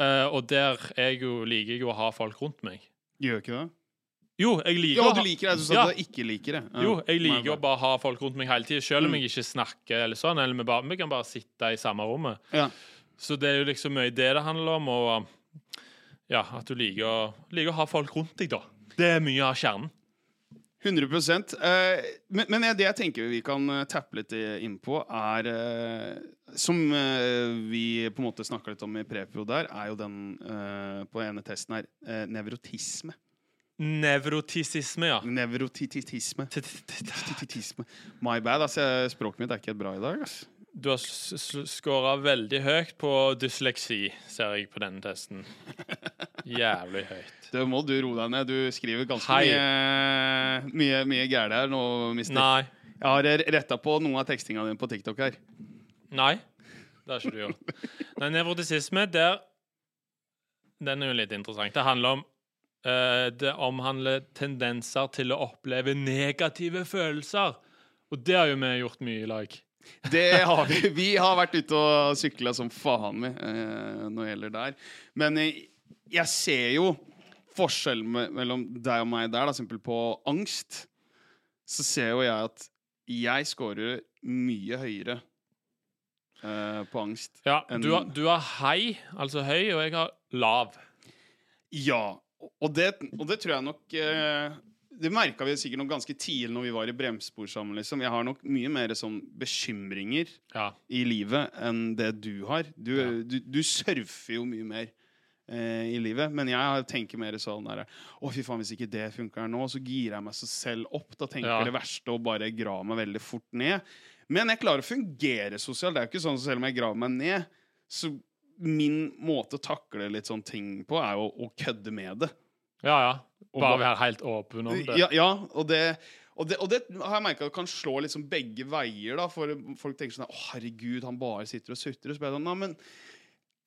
[SPEAKER 2] Eh, og der er jeg jo, liker jeg jo å ha folk rundt meg.
[SPEAKER 3] Gjør ikke det?
[SPEAKER 2] Jo, jeg liker,
[SPEAKER 3] Ja,
[SPEAKER 2] å
[SPEAKER 3] du
[SPEAKER 2] ha-
[SPEAKER 3] liker det. Du sa
[SPEAKER 2] Ja.
[SPEAKER 3] at du ikke liker det. Ja.
[SPEAKER 2] Jo, jeg liker
[SPEAKER 3] Nei,
[SPEAKER 2] å bare ha folk rundt meg hele tida, selv om
[SPEAKER 3] Mm.
[SPEAKER 2] jeg ikke snakker eller sånn. Eller vi, bare, vi kan bare sitte i samme rommet.
[SPEAKER 3] Ja.
[SPEAKER 2] Så det er jo liksom mye det det handler om, og ja, at du liker å, liker å ha folk rundt deg, da. Det er mye av kjernen.
[SPEAKER 3] 100 eh, Men, men jeg- det jeg tenker vi kan eh, tappe litt i- inn på, er eh, Som eh, vi på en måte snakka litt om i prepro der, er jo den eh, på ene testen her eh, nevrotisme.
[SPEAKER 2] Nevrotisisme, ja.
[SPEAKER 3] Nevrotitisme.
[SPEAKER 2] T- t- t- t-
[SPEAKER 3] Titisme. My bad. ass. Jeg- Språket mitt er ikke helt bra i dag. ass.
[SPEAKER 2] Du har skåra veldig høyt på dysleksi, ser jeg på denne testen. Jævlig høyt.
[SPEAKER 3] Det må du roe deg ned. Du skriver ganske
[SPEAKER 2] Hei.
[SPEAKER 3] mye, mye, mye gærent her nå, mister.
[SPEAKER 2] Nei.
[SPEAKER 3] Jeg har retta på noen av tekstinga dine på TikTok her.
[SPEAKER 2] Nei. Det har ikke du gjort. Nei, nevrotisisme, der Den er jo litt interessant. Det handler om eh, Det omhandler tendenser til å oppleve negative følelser. Og det har jo vi gjort mye i lag.
[SPEAKER 3] Det har vi. Vi har vært ute og sykla som faen vi eh, når det gjelder der. Men eh, jeg ser jo forskjellen me mellom deg og meg der, da, simpel på angst. Så ser jo jeg at jeg scorer mye høyere eh, på angst.
[SPEAKER 2] Ja,
[SPEAKER 3] enn-
[SPEAKER 2] du har, du har hei, altså høy, og jeg har lav.
[SPEAKER 3] Ja, og det, og det tror jeg nok eh, Det merka vi sikkert nok ganske tidlig når vi var i bremsspor sammen. Liksom. Jeg har nok mye mer sånn bekymringer
[SPEAKER 2] Ja.
[SPEAKER 3] i livet enn det du har. Du,
[SPEAKER 2] Ja.
[SPEAKER 3] du, du surfer jo mye mer eh, i livet, men jeg tenker mer sånn der Å, fy faen, hvis ikke det funker her nå, så girer jeg meg så selv opp. Da tenker
[SPEAKER 2] Ja.
[SPEAKER 3] jeg det verste og bare graver meg veldig fort ned. Men jeg klarer å fungere sosialt. Det er jo ikke sånn at selv om jeg graver meg ned, så min måte å takle litt sånn ting på, er jo å kødde med det.
[SPEAKER 2] Ja, ja.
[SPEAKER 3] Og
[SPEAKER 2] Bare
[SPEAKER 3] hva-
[SPEAKER 2] være helt åpen om det.
[SPEAKER 3] Ja, ja og det og det, og det har jeg merket kan slå liksom begge veier. da For Folk tenker sånn Å, herregud, han bare sitter og sutrer. Så blir jeg sånn, «Nei, men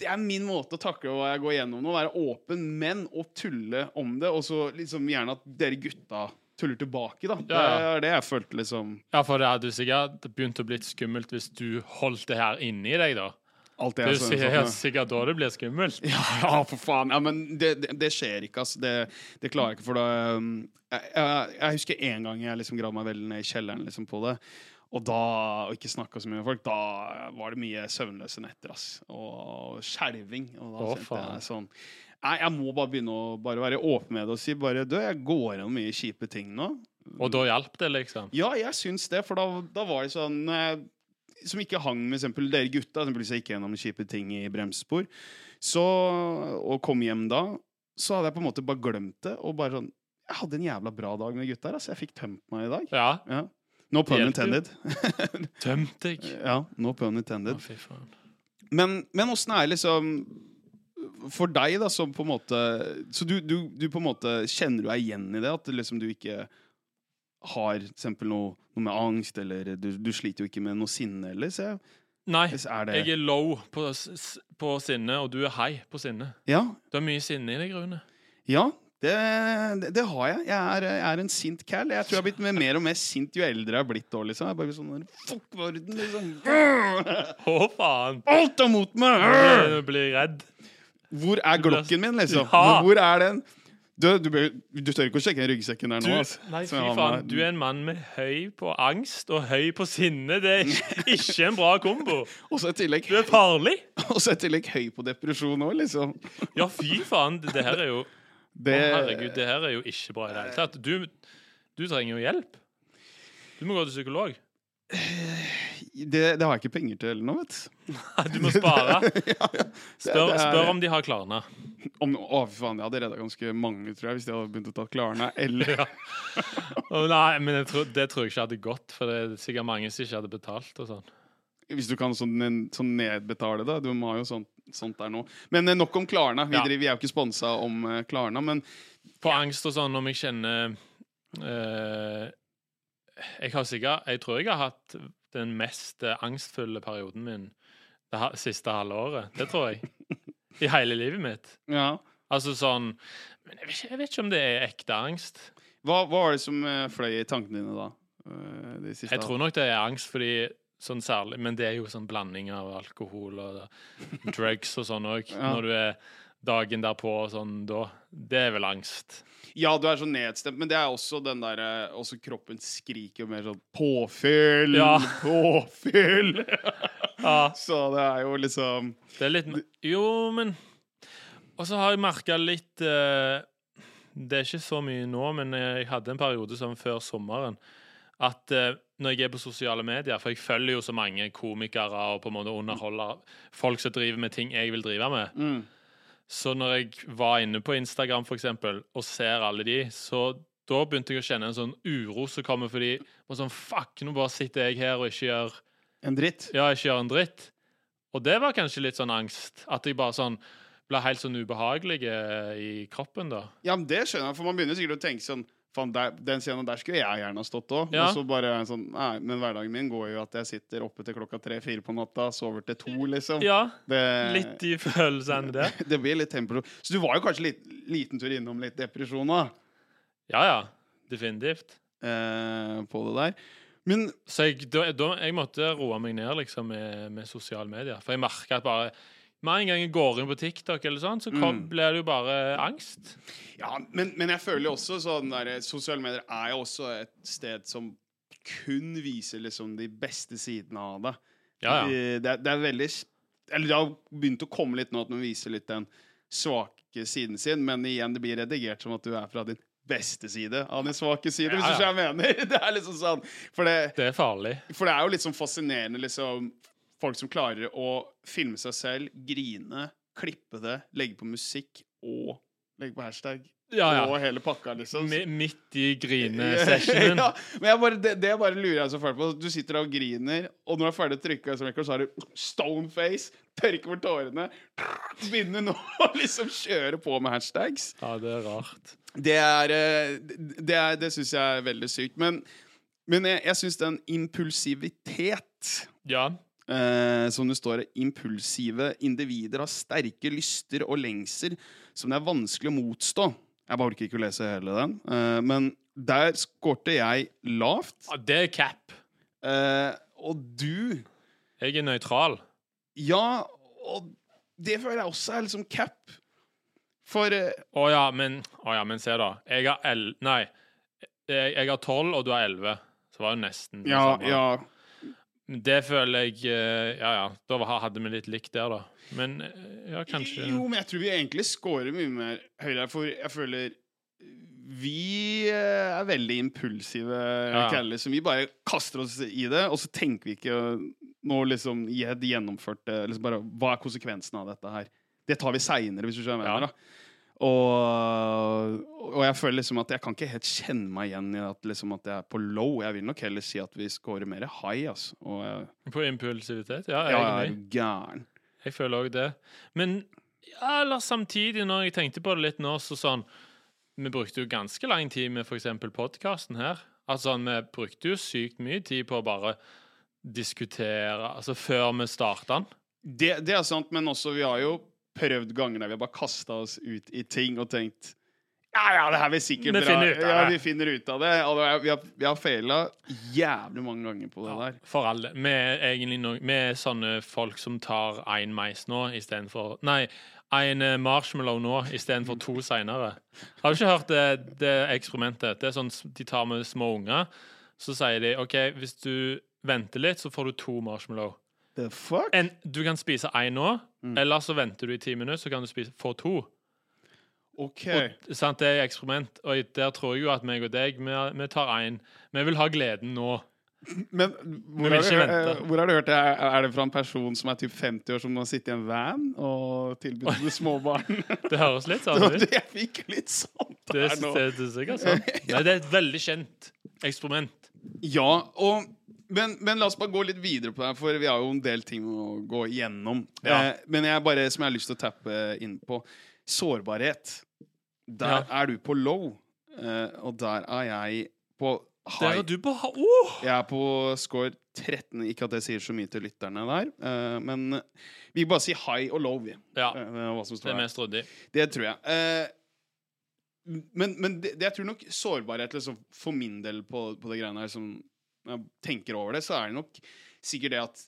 [SPEAKER 3] det er min måte å takle hva jeg går gjennom nå. Være åpen, men å tulle om det. Og så liksom gjerne at dere gutta tuller tilbake. da Det
[SPEAKER 2] Ja,
[SPEAKER 3] er det jeg følte, liksom.
[SPEAKER 2] Ja, for det hadde jo sikkert begynt å bli skummelt hvis du holdt det her inni deg, da.
[SPEAKER 3] Alt
[SPEAKER 2] Det
[SPEAKER 3] jeg sånn,
[SPEAKER 2] er jo
[SPEAKER 3] så-
[SPEAKER 2] sikkert- sikkert da det blir skummelt.
[SPEAKER 3] Ja, ja, for faen. Ja, men det, det, det skjer ikke, altså. Det, det klarer jeg ikke, for da um, jeg, jeg, jeg husker en gang jeg liksom gravde meg veldig ned i kjelleren liksom, på det. Og da, og ikke snakka så mye med folk, da var det mye søvnløse netter. ass. Og skjelving. Og da
[SPEAKER 2] Å,
[SPEAKER 3] kjente
[SPEAKER 2] faen.
[SPEAKER 3] jeg sånn Nei, jeg må bare begynne å bare være åpen med det og si bare Du, jeg går gjennom mye kjipe ting nå.
[SPEAKER 2] Og da hjalp det, liksom.
[SPEAKER 3] Ja, jeg syns det, for da, da var det sånn eh, Som ikke hang med eksempel dere gutta, som plutselig gikk gjennom kjipe ting i bremsespor, så, og kom hjem da, så hadde jeg på en måte bare glemt det, og bare sånn Jeg hadde en jævla bra dag med gutta her, altså. Jeg fikk tømt meg i dag.
[SPEAKER 2] Ja.
[SPEAKER 3] Ja. No pun
[SPEAKER 2] Det hjelper jo.
[SPEAKER 3] intended.
[SPEAKER 2] Tømt deg.
[SPEAKER 3] ja, no pun intended.
[SPEAKER 2] Å, fy faen.
[SPEAKER 3] Men, men åssen er liksom For deg, da, som på en måte Så du, du, du på en måte Kjenner du deg igjen i det? At liksom du ikke har for eksempel noe, noe med angst, eller du, du sliter jo ikke med noe sinne heller, ser jeg.
[SPEAKER 2] Nei,
[SPEAKER 3] Hvis Er det
[SPEAKER 2] jeg er low på, s- s- på sinne, og du er high på sinne.
[SPEAKER 3] Ja.
[SPEAKER 2] Du har mye sinne i deg, Rune.
[SPEAKER 3] ja det, det, det har jeg. Jeg er, jeg er en sint cal. Jeg tror jeg har blitt mer- mer og mer sint jo eldre jeg har blitt. Også, liksom. Jeg er bare sånn der, Fuck verden, liksom.
[SPEAKER 2] Å, faen!
[SPEAKER 3] Alt er mot meg!
[SPEAKER 2] Jeg blir redd.
[SPEAKER 3] Hvor er glokken min, liksom?
[SPEAKER 2] Ja.
[SPEAKER 3] Hvor er den? Du, du, bør- du tør ikke å sjekke den ryggsekken der
[SPEAKER 2] Du,
[SPEAKER 3] nå. ass. eh,
[SPEAKER 2] nei, fy
[SPEAKER 3] Som jeg har
[SPEAKER 2] faen.
[SPEAKER 3] med.
[SPEAKER 2] Du er en mann med høy på angst og høy på sinne. Det er ikke- ikke en bra kombo.
[SPEAKER 3] Også i tillegg,
[SPEAKER 2] Du er farlig.
[SPEAKER 3] også i tillegg høy på depresjon òg, liksom.
[SPEAKER 2] Ja, fy faen. Det det her er jo Å,
[SPEAKER 3] Det,
[SPEAKER 2] herregud, det her er jo ikke bra i det hele tatt. Du, du trenger jo hjelp. Du må gå til psykolog.
[SPEAKER 3] Det, det har jeg ikke penger til nå, vet du.
[SPEAKER 2] Du må spare.
[SPEAKER 3] Ja, ja.
[SPEAKER 2] Spør,
[SPEAKER 3] det er-
[SPEAKER 2] spør om de har Klarna.
[SPEAKER 3] Om, å, fy faen, jeg hadde redda ganske mange, tror jeg, hvis de hadde begynt å ta Klarna. Eller
[SPEAKER 2] Ja. Å, nei, men jeg tror, det tror jeg ikke hadde gått, for det er sikkert mange som ikke hadde betalt. og sånn.
[SPEAKER 3] hvis du kan sånn, en- sånn nedbetale det. Du har jo sånt, sånt der nå. Men eh, nok om Klarna. Vi,
[SPEAKER 2] Ja.
[SPEAKER 3] driver, vi er jo ikke sponsa om eh, Klarna, men
[SPEAKER 2] På angst og sånn, om jeg kjenner eh, Jeg har sikkert Jeg tror jeg har hatt den mest eh, angstfulle perioden min det ha, siste halve året. Det tror jeg. I hele livet mitt.
[SPEAKER 3] ja.
[SPEAKER 2] Altså sånn Men jeg vet ikke, jeg vet ikke om det er ekte angst.
[SPEAKER 3] Hva, hva var det som eh, fløy i tankene dine da? eh, de siste
[SPEAKER 2] Jeg tror nok det er angst, fordi sånn særlig Men det er jo sånn blanding av alkohol og drugs og sånn òg.
[SPEAKER 3] Ja.
[SPEAKER 2] Når du er dagen derpå og sånn da. Det er vel angst.
[SPEAKER 3] Ja, du er så nedstemt, men det er også den der eh, Også kroppen skriker jo mer sånn Påfyll!
[SPEAKER 2] Ja.
[SPEAKER 3] Påfyll!
[SPEAKER 2] Ja.
[SPEAKER 3] så det er jo liksom
[SPEAKER 2] Det er litt Jo, men Og så har jeg merka litt eh, Det er ikke så mye nå, men jeg hadde en periode som før sommeren at eh, når jeg er på sosiale medier For jeg følger jo så mange komikere og på en måte underholder folk som driver med ting jeg vil drive med.
[SPEAKER 3] mm.
[SPEAKER 2] Så når jeg var inne på Instagram for eksempel, og ser alle de, så da begynte jeg å kjenne en sånn uro som kommer fordi og sånn, Fuck, nå bare sitter jeg her og ikke gjør,
[SPEAKER 3] En dritt.
[SPEAKER 2] ja, ikke gjør en dritt. Og det var kanskje litt sånn angst. At jeg bare sånn ble helt sånn ubehagelig eh, i kroppen, da.
[SPEAKER 3] Ja, men det skjønner jeg, for man begynner sikkert å tenke sånn Faen, der- den scenen der skulle jeg gjerne ha stått òg.
[SPEAKER 2] Ja.
[SPEAKER 3] Og så bare er jeg sånn Nei, men hverdagen min går jo at jeg sitter oppe til klokka tre-fire på natta, sover til to, liksom.
[SPEAKER 2] Ja,
[SPEAKER 3] Det,
[SPEAKER 2] litt de følelsene der.
[SPEAKER 3] det blir litt tempo. Så du var jo kanskje litt, liten tur innom litt depresjon da,
[SPEAKER 2] Ja, ja. Definitivt.
[SPEAKER 3] eh, på det der. Men
[SPEAKER 2] Så jeg, da, da, jeg måtte roe meg ned liksom, med, med sosiale medier. For jeg merka at bare med en gang jeg går inn på TikTok, eller sånn, så kom,
[SPEAKER 3] Mm.
[SPEAKER 2] blir det jo bare angst.
[SPEAKER 3] Ja, men, men jeg føler jo også sånn der, Sosiale medier er jo også et sted som kun viser liksom de beste sidene av det.
[SPEAKER 2] Ja, ja.
[SPEAKER 3] Eh, Det, er- det er veldig s- Eller det har begynt å komme litt nå at man viser litt den svake siden sin, men igjen, det blir redigert som at du er fra din beste side av din svake side,
[SPEAKER 2] Ja,
[SPEAKER 3] hvis du
[SPEAKER 2] ja.
[SPEAKER 3] skjønner hva jeg mener. Det er liksom sånn For det,
[SPEAKER 2] Det er farlig.
[SPEAKER 3] for det er jo litt sånn fascinerende, liksom Folk som klarer å filme seg selv, grine, klippe det, legge på musikk og legge på hashtag
[SPEAKER 2] Ah, Ja,
[SPEAKER 3] og
[SPEAKER 2] ja.
[SPEAKER 3] hele pakka, liksom.
[SPEAKER 2] Mi- Midt i grinesessionen.
[SPEAKER 3] ja, men jeg bare, det, det bare lurer jeg så fælt på. Du sitter og griner, og når du er ferdig å trykke, så har du stone face, tørker bort tårene, begynner nå å liksom kjøre på med hashtags.
[SPEAKER 2] Ja, det er rart.
[SPEAKER 3] Det er eh, Det, er- det syns jeg er veldig sykt. Men, men jeg, jeg syns den impulsivitet
[SPEAKER 2] Ja.
[SPEAKER 3] Eh, som det står, impulsive individer har sterke lyster og lengsler som det er vanskelig å motstå. Jeg bare orker ikke å lese hele den. Eh, men der skårte jeg lavt.
[SPEAKER 2] ja, det er cap.
[SPEAKER 3] Eh, og du
[SPEAKER 2] Jeg er nøytral.
[SPEAKER 3] Ja, og det føler jeg også er liksom cap. For eh,
[SPEAKER 2] Å ja, men Å ja, men se, da. Jeg har el... Nei. Jeg, jeg har tolv, og du har elleve. Så var det nesten det
[SPEAKER 3] Ja,
[SPEAKER 2] samme.
[SPEAKER 3] ja.
[SPEAKER 2] Det føler jeg eh, Ja, ja. Da var- hadde vi litt likt der, da. Men eh, ja, kanskje
[SPEAKER 3] Jo, men jeg tror vi egentlig scorer mye mer høyere, for jeg føler vi eh, er veldig impulsive
[SPEAKER 2] Ja.
[SPEAKER 3] kaller, så vi bare kaster oss i det, og så tenker vi ikke nå liksom i et gjennomført eh, liksom bare, Hva er konsekvensen av dette her? Det tar vi seinere, hvis du skjønner hva jeg
[SPEAKER 2] Ja.
[SPEAKER 3] mener. da. Og, og jeg føler liksom at jeg kan ikke helt kjenne meg igjen i at, liksom at jeg er på low. Jeg vil nok heller si at vi scorer mer high, altså. Og jeg,
[SPEAKER 2] På impulsivitet? Ja,
[SPEAKER 3] jeg
[SPEAKER 2] egentlig.
[SPEAKER 3] er jo gæren.
[SPEAKER 2] Jeg føler òg det. Men ja, eller samtidig, når jeg tenkte på det litt nå, så sånn Vi brukte jo ganske lang tid med f.eks. podkasten her. Altså, sånn, vi brukte jo sykt mye tid på å bare diskutere Altså før vi starta den.
[SPEAKER 3] Det, det er sant, men også vi har jo prøvd ganger der vi har bare kasta oss ut i ting og tenkt Ja, ja, det her vil sikkert
[SPEAKER 2] Vi
[SPEAKER 3] dra-
[SPEAKER 2] finner ut av
[SPEAKER 3] Ja,
[SPEAKER 2] det."
[SPEAKER 3] vi finner ut av det. Og det er, vi har, vi har faila jævlig mange ganger på det der.
[SPEAKER 2] For alle. Vi er egentlig no, vi er sånne folk som tar én mais nå istedenfor Nei, én marshmallow nå istedenfor to seinere. Har du ikke hørt det, det eksperimentet? Det er sånn s- de tar med små unger. Så sier de OK, hvis du venter litt, så får du to marshmallow.
[SPEAKER 3] The fuck?
[SPEAKER 2] En, du kan spise én nå, eller så venter du i ti minutter, så kan du spise, få to.
[SPEAKER 3] OK.
[SPEAKER 2] Sant, det er eksperiment, og der tror jeg jo at meg og deg, vi, vi tar én. Vi vil ha gleden nå.
[SPEAKER 3] Men hvor
[SPEAKER 2] vil
[SPEAKER 3] har, du,
[SPEAKER 2] ikke vente.
[SPEAKER 3] eh, hvor har du hørt det? Er, er det fra en person som er typ 50 år, som har sittet i en van og tilbudt til småbarn?
[SPEAKER 2] Det høres litt sånn ut.
[SPEAKER 3] Det jeg fikk litt sånn
[SPEAKER 2] Det,
[SPEAKER 3] der
[SPEAKER 2] det,
[SPEAKER 3] nå.
[SPEAKER 2] det, er sikkert sant. Nei, det er et veldig kjent eksperiment.
[SPEAKER 3] Ja, og, men, men la oss bare gå litt videre på det her, for vi har jo en del ting å gå igjennom.
[SPEAKER 2] Ja.
[SPEAKER 3] Eh, men jeg bare, som jeg har lyst til å tappe inn på sårbarhet. Der
[SPEAKER 2] Ja.
[SPEAKER 3] er du på low, eh, og der er jeg på
[SPEAKER 2] Der
[SPEAKER 3] high.
[SPEAKER 2] er du på ha- Åh!
[SPEAKER 3] Jeg er på score 13. Ikke at det sier så mye til lytterne der, eh, men vi bare sier high og low, vi.
[SPEAKER 2] Ja,
[SPEAKER 3] Eh, hva som
[SPEAKER 2] det
[SPEAKER 3] står
[SPEAKER 2] er
[SPEAKER 3] der.
[SPEAKER 2] mest ryddig.
[SPEAKER 3] Det tror jeg. Eh, men men det, det- jeg tror nok sårbarhet liksom, for min del på, på det greiene her, som jeg tenker over det, så er det nok sikkert det at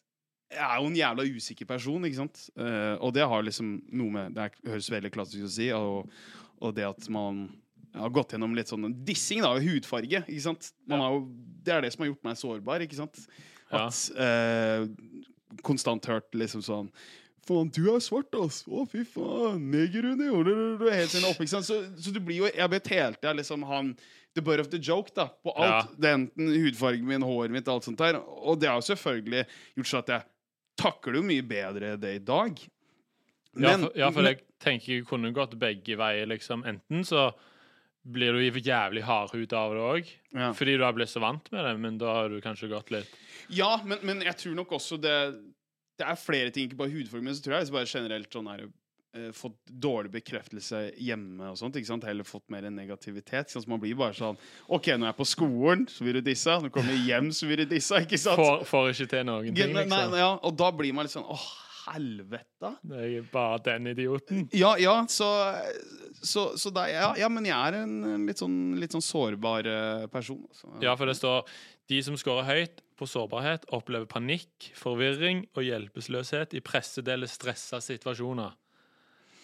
[SPEAKER 3] jeg er jo en jævla usikker person, ikke sant? Eh, og det har liksom noe med Det er, høres veldig klassisk ut å si, og, og det at man har gått gjennom litt sånn dissing da, ved hudfarge, ikke sant? Man har jo, det er det som har gjort meg sårbar, ikke sant?
[SPEAKER 2] Ja.
[SPEAKER 3] At eh, konstant hørt liksom sånn Faen, du er svart, ass! Å, fy faen! Negerunion! Helt siden opp, ikke sant? Så, så du blir jo Jeg ble helt jeg liksom han The butt of the joke, da. På alt. Det er enten hudfargen min, håret mitt, alt sånt der. Og det har jo selvfølgelig gjort så at jeg takler jo mye bedre det i dag.
[SPEAKER 2] Ja, for, ja, for jeg tenker jeg kunne gått begge veier, liksom. Enten så blir du jævlig hardhud av det òg,
[SPEAKER 3] Ja.
[SPEAKER 2] fordi du har blitt så vant med det, men da har du kanskje gått litt
[SPEAKER 3] Ja, men, men jeg tror nok også det Det er flere ting, ikke bare hudfarge, men så tror jeg liksom bare generelt sånn her eh, Fått dårlig bekreftelse hjemme og sånt. Ikke sant? Heller fått mer negativitet. ikke sant? Så man blir bare sånn OK, nå er jeg på skolen, så blir du dissa. Nå kommer jeg hjem, så blir du dissa. Ikke sant?
[SPEAKER 2] Får, får ikke til noen ting,
[SPEAKER 3] Nei, nei,
[SPEAKER 2] liksom.
[SPEAKER 3] ja, og da blir man litt sånn Å, helvete.
[SPEAKER 2] Jeg er bare den idioten.
[SPEAKER 3] Ja, ja, så, så, så da, ja, ja, men jeg er en, en litt, sånn, litt sånn sårbar eh, person. Altså.
[SPEAKER 2] Ja, for det står De som scorer høyt på sårbarhet, opplever panikk, forvirring og hjelpeløshet i pressedele stressa situasjoner.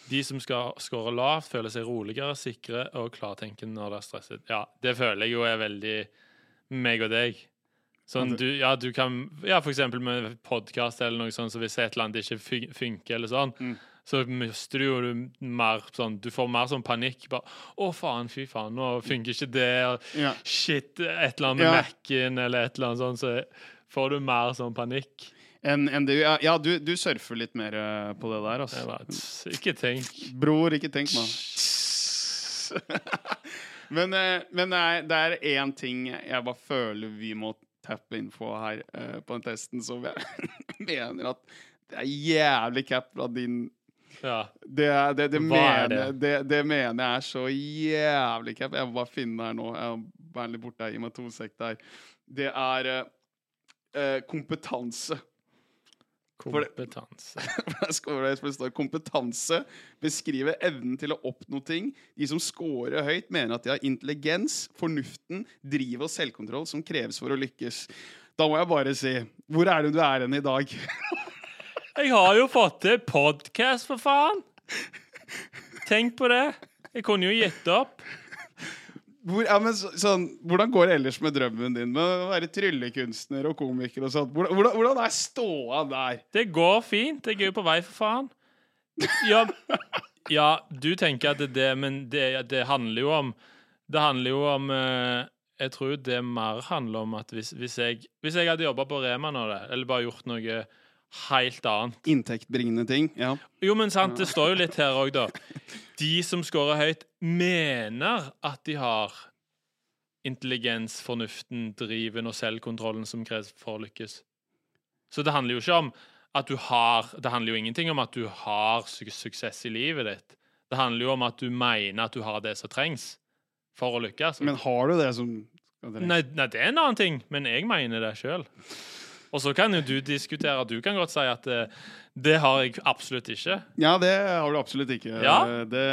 [SPEAKER 2] De som skal score lavt, føler seg roligere, sikre og klartenkende når det er stresset. Ja, det føler jeg jo er veldig meg og deg. Sånn,
[SPEAKER 3] Ja, det-
[SPEAKER 2] du, ja, du kan Ja, for eksempel med podkast eller noe sånt, så hvis et eller annet ikke fun- funker eller sånn,
[SPEAKER 3] Mm.
[SPEAKER 2] så mister du jo du mer sånn Du får mer sånn panikk. Bare 'Å, faen, fy faen, nå funker ikke det.' og
[SPEAKER 3] Ja.
[SPEAKER 2] shit, et eller annet med
[SPEAKER 3] Ja.
[SPEAKER 2] Mac-en eller et eller annet sånt, så får du mer sånn panikk.
[SPEAKER 3] Enn enn du, ja, ja du, du surfer litt mer eh, på det der,
[SPEAKER 2] Jeg
[SPEAKER 3] altså.
[SPEAKER 2] bare, tss, ikke tenk.
[SPEAKER 3] Bror, ikke tenk meg. men eh, men det, er, det er én ting jeg bare føler vi må tappe inn på her eh, på den testen, som jeg mener at det er jævlig cap fra din
[SPEAKER 2] Ja.
[SPEAKER 3] Det, er- det, det,
[SPEAKER 2] Hva er
[SPEAKER 3] mener, det? Det, mener jeg er så jævlig cap. Jeg må bare finne det her nå. Jeg må være litt borte her. Gi meg to sek der. Det er eh, eh, kompetanse. det-
[SPEAKER 2] Kompetanse.
[SPEAKER 3] Der scorer jeg, for det står kompetanse beskriver evnen til å oppnå ting. De som scorer høyt, mener at de har intelligens, fornuften, driv og selvkontroll som kreves for å lykkes. Da må jeg bare si Hvor er det du er hen i dag?
[SPEAKER 2] Jeg har jo fått til podkast, for faen! Tenk på det. Jeg kunne jo gitt opp.
[SPEAKER 3] Hvor, ja, men så, sånn, hvordan går det ellers med drømmen din med å være tryllekunstner og komiker og sånt? Hvordan, hvordan, hvordan er ståa der?
[SPEAKER 2] Det går fint. Jeg er jo på vei, for faen. Ja, ja du tenker at det er det, men det, det handler jo om Det handler jo om eh, Jeg tror det mer handler om at hvis, hvis, jeg, hvis jeg hadde jobba på Rema nå, det, eller bare gjort noe helt annet
[SPEAKER 3] Inntektbringende ting. Ja.
[SPEAKER 2] Jo, men sant, det står jo litt her òg, da. De som scorer høyt, mener at de har intelligens, fornuften, driven og selvkontrollen som kreves for å lykkes. Så det handler jo ikke om at du har Det handler jo ingenting om at du har su suksess i livet ditt. Det handler jo om at du mener at du har det som trengs for å lykkes.
[SPEAKER 3] Men har du det som
[SPEAKER 2] Nei, nei, det er en annen ting, men jeg mener det sjøl. Og så kan jo du diskutere, du kan godt si at eh, det har jeg absolutt ikke.
[SPEAKER 3] Ja, det har du absolutt ikke.
[SPEAKER 2] Ja.
[SPEAKER 3] Det, det,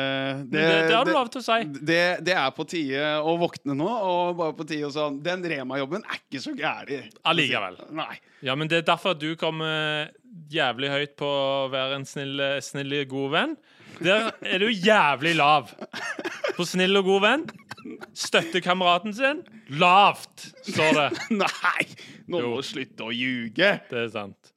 [SPEAKER 2] Men det, det har du lov til å si.
[SPEAKER 3] Det, det er på tide å våkne nå, og bare på tide å sånn Den Rema-jobben er ikke så gæren.
[SPEAKER 2] Allikevel.
[SPEAKER 3] Nei.
[SPEAKER 2] Ja, men det er derfor du kommer jævlig høyt på å være en snill, snill og god venn. Der er du jævlig lav. På snill og god venn. Støtter kameraten sin. Lavt, står det.
[SPEAKER 3] Nei! Nå
[SPEAKER 2] Jo.
[SPEAKER 3] må du slutte å ljuge!
[SPEAKER 2] Det er sant.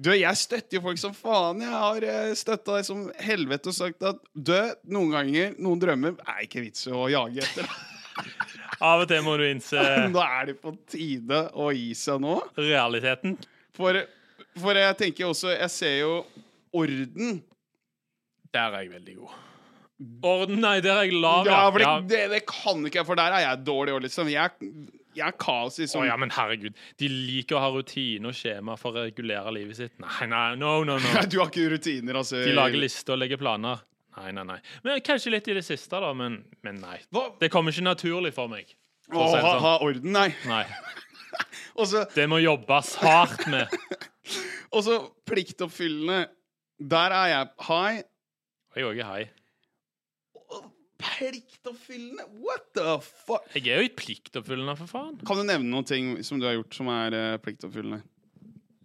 [SPEAKER 3] Du, jeg støtter jo folk som faen. Jeg har støtta deg som helvete og sagt at død noen ganger, noen drømmer, er ikke vits å jage etter.
[SPEAKER 2] Av og til må du innse
[SPEAKER 3] Nå er det på tide å gi seg nå.
[SPEAKER 2] realiteten.
[SPEAKER 3] For, for jeg tenker også Jeg ser jo orden.
[SPEAKER 2] Der er jeg veldig god. Orden, nei, der er jeg lav,
[SPEAKER 3] Ja, for det,
[SPEAKER 2] Ja.
[SPEAKER 3] det, det kan ikke jeg, for der er jeg dårlig òg, liksom. Jeg, jeg er kaos, liksom.
[SPEAKER 2] Å ja, men herregud. De liker å ha rutine og skjema for å regulere livet sitt. Nei, nei, no, no, no.
[SPEAKER 3] sånn- Du har ikke rutiner, altså.
[SPEAKER 2] De lager liste og legger planer. Nei, nei, nei. Men Kanskje litt i det siste, da, men, men nei.
[SPEAKER 3] Hva-
[SPEAKER 2] Det kommer ikke naturlig for meg.
[SPEAKER 3] Å,
[SPEAKER 2] For å si det
[SPEAKER 3] ha,
[SPEAKER 2] sånn.
[SPEAKER 3] ha orden, nei.
[SPEAKER 2] Nei.
[SPEAKER 3] Og så
[SPEAKER 2] Det må jobbes hardt med.
[SPEAKER 3] og så pliktoppfyllende. Der er jeg high.
[SPEAKER 2] Jeg er også hei.
[SPEAKER 3] Og Pliktoppfyllende? What the fuck?
[SPEAKER 2] Jeg er jo ikke pliktoppfyllende, for faen.
[SPEAKER 3] Kan du nevne noen ting som du har gjort som er eh, pliktoppfyllende?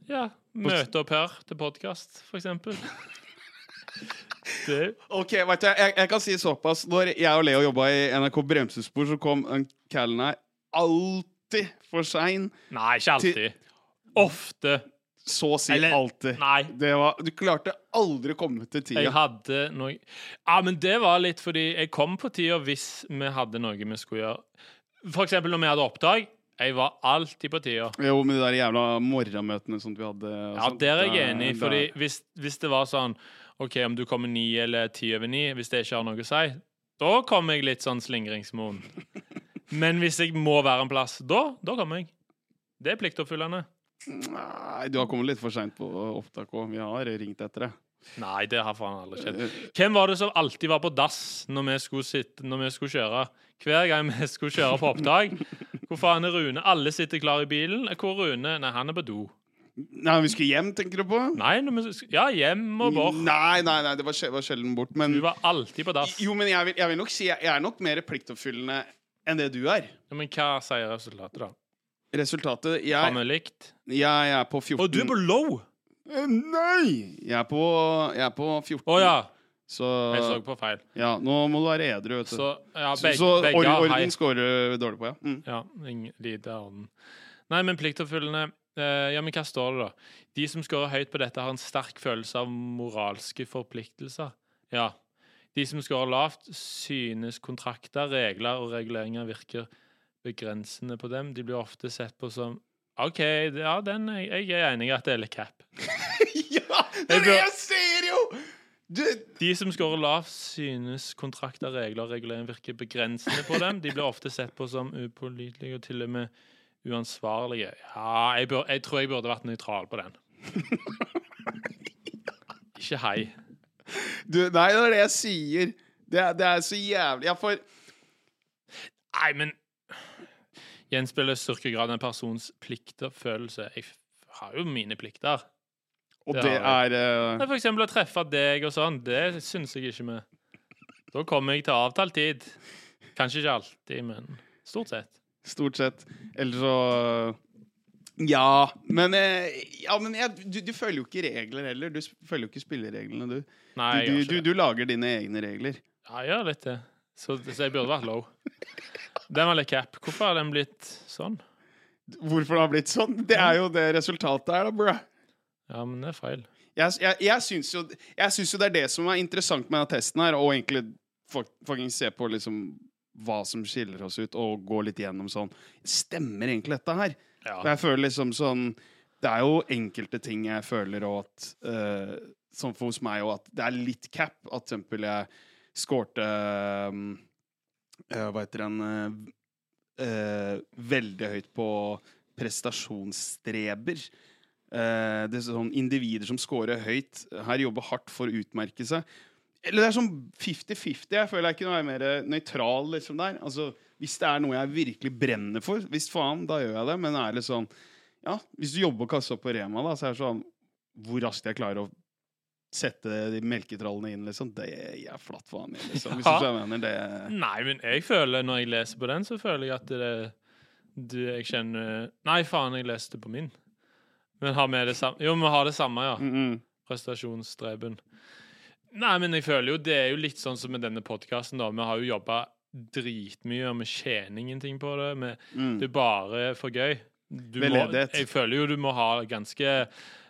[SPEAKER 2] Ja. Møte opp her til podkast, for eksempel. Det
[SPEAKER 3] Ok, vet du, jeg, jeg kan si såpass. Når jeg og Leo jobba i NRK Bremsespor, så kom en callen her alltid for sein.
[SPEAKER 2] Nei, ikke alltid. Ofte.
[SPEAKER 3] Så å si
[SPEAKER 2] Eller-
[SPEAKER 3] alltid.
[SPEAKER 2] Nei.
[SPEAKER 3] Det var, du klarte aldri å komme til
[SPEAKER 2] Jeg
[SPEAKER 3] tida.
[SPEAKER 2] hadde noe Ja, men det var litt fordi jeg kom på tida hvis vi hadde noe vi skulle gjøre. For eksempel når vi hadde opptak. Jeg var alltid på tida.
[SPEAKER 3] Jo, med de der jævla morgenmøtene som vi hadde. og
[SPEAKER 2] Ja,
[SPEAKER 3] sånt,
[SPEAKER 2] der er jeg
[SPEAKER 3] eh,
[SPEAKER 2] enig.
[SPEAKER 3] der-
[SPEAKER 2] Fordi hvis, hvis det var sånn OK, om du kommer ni eller ti over ni, hvis det ikke har noe å si, da kommer jeg litt sånn slingringsmoen. Men hvis jeg må være en plass, da, da kommer jeg. Det er pliktoppfyllende.
[SPEAKER 3] Nei, du har kommet litt for seint på opptak òg. Vi har ringt etter det.
[SPEAKER 2] Nei, det har faen aldri skjedd. Hvem var det som alltid var på dass når vi skulle, sitte, når vi skulle kjøre? Hver gang vi skulle kjøre på opptak. Hvor faen er Rune? Alle sitter klar i bilen. Hvor er Rune? Nei, han er på do.
[SPEAKER 3] Nei, vi skulle hjem, tenker du på?
[SPEAKER 2] Nei, når vi, sk- ja, hjem og bort.
[SPEAKER 3] Nei, nei, nei, det var, sjel- var sjelden bort. Men
[SPEAKER 2] Du var alltid på dass.
[SPEAKER 3] jo, men jeg vil, jeg vil nok si jeg, jeg er nok mer pliktoppfyllende enn det du er.
[SPEAKER 2] Ja, Men hva sier resultatet, da?
[SPEAKER 3] Resultatet
[SPEAKER 2] Han
[SPEAKER 3] Jeg,
[SPEAKER 2] er likt.
[SPEAKER 3] jeg er på 14
[SPEAKER 2] Og du er på low!
[SPEAKER 3] Eh, Nei! Jeg er på, jeg er på 14.
[SPEAKER 2] Å ja.
[SPEAKER 3] Så
[SPEAKER 2] Jeg så på feil.
[SPEAKER 3] ja, nå må du være edru, vet du.
[SPEAKER 2] Så ja,
[SPEAKER 3] Så-
[SPEAKER 2] begge,
[SPEAKER 3] så
[SPEAKER 2] begge
[SPEAKER 3] or-
[SPEAKER 2] har hei.
[SPEAKER 3] orden scorer du dårlig på, ja. Mm.
[SPEAKER 2] Ja, ingen- lite av den. Nei, men pliktoppfyllende eh, Ja, men hva står det, da? De som scorer høyt på dette, har en sterk følelse av moralske forpliktelser. Ja. De som scorer lavt, synes kontrakter, regler og reguleringer virker begrensende på dem. De blir ofte sett på som OK, ja, den, er- jeg er enig i at det er litt cap.
[SPEAKER 3] ja! Det
[SPEAKER 2] Jeg
[SPEAKER 3] er det
[SPEAKER 2] bør-
[SPEAKER 3] jeg ser, jo! Du,
[SPEAKER 2] De som scorer lavt, synes kontrakter, regler og regulering virker begrensende på dem. De blir ofte sett på som upålitelige og til og med uansvarlige. Ja, jeg, bør, jeg tror jeg burde vært nøytral på den. Ikke hei.
[SPEAKER 3] du, nei, det er det jeg sier. Det, er- det er så jævlig. Jeg får
[SPEAKER 2] Nei, men Gjenspeiler i styrkegrad en persons plikter, følelse. Jeg f- har jo mine plikter.
[SPEAKER 3] Og
[SPEAKER 2] Det
[SPEAKER 3] det
[SPEAKER 2] har
[SPEAKER 3] er eh,
[SPEAKER 2] Det er For eksempel å treffe deg og sånn, det syns jeg ikke vi Da kommer jeg til avtalt tid. Kanskje ikke alltid, men stort sett.
[SPEAKER 3] Stort sett. Eller så eh, Ja, men, eh, ja, men jeg, du, du følger jo ikke regler heller. Du s- følger jo ikke spillereglene, du.
[SPEAKER 2] Nei, jeg
[SPEAKER 3] Du,
[SPEAKER 2] gjør
[SPEAKER 3] du,
[SPEAKER 2] ikke
[SPEAKER 3] du,
[SPEAKER 2] det.
[SPEAKER 3] du lager dine egne regler.
[SPEAKER 2] Ja, jeg gjør litt det. Så, så jeg burde vært low. Den var litt cap. Hvorfor har den blitt sånn?
[SPEAKER 3] Hvorfor det har blitt sånn? Det er jo det resultatet er, da, bruh.
[SPEAKER 2] Ja, men det er feil.
[SPEAKER 3] Jeg, jeg, jeg, syns jo, jeg syns jo det er det som er interessant med denne testen her, og egentlig fuck- fucking se på liksom hva som skiller oss ut, og gå litt gjennom sånn Stemmer egentlig dette her?
[SPEAKER 2] Ja.
[SPEAKER 3] Og Jeg føler liksom sånn Det er jo enkelte ting jeg føler og at eh, Sånn for hos meg og at det er litt cap. At for eksempel jeg skårte eh, eh, Hva heter den eh, eh, Veldig høyt på prestasjonsstreber. Eh, det er sånn individer som scorer høyt, her jobber hardt for å utmerke seg. Eller det er sånn 50-50. Jeg føler jeg kunne være mer nøytral liksom der. Altså, hvis det er noe jeg virkelig brenner for, hvis faen, da gjør jeg det. Men er det sånn Ja, hvis du jobber kassa på Rema, da, så er det sånn Hvor raskt jeg klarer å sette de melketrallene inn, liksom. Det er jeg flatt faen i, liksom. Hvis du
[SPEAKER 2] Ja.
[SPEAKER 3] skjønner hva jeg mener det
[SPEAKER 2] Nei, men jeg føler, når jeg leser på den, så føler jeg at det du, Jeg kjenner Nei, faen, jeg leste på min. Men har vi det samme? Jo, vi har det samme, ja.
[SPEAKER 3] mm -mm.
[SPEAKER 2] Prestasjonsstreben. Nei, men jeg føler jo det er jo litt sånn som med denne podkasten, da. Vi har jo jobba dritmye, og vi tjener ingenting på det. Vi
[SPEAKER 3] Mm.
[SPEAKER 2] Det er bare for gøy. Du må,
[SPEAKER 3] Veldedighet.
[SPEAKER 2] jeg føler jo du må ha ganske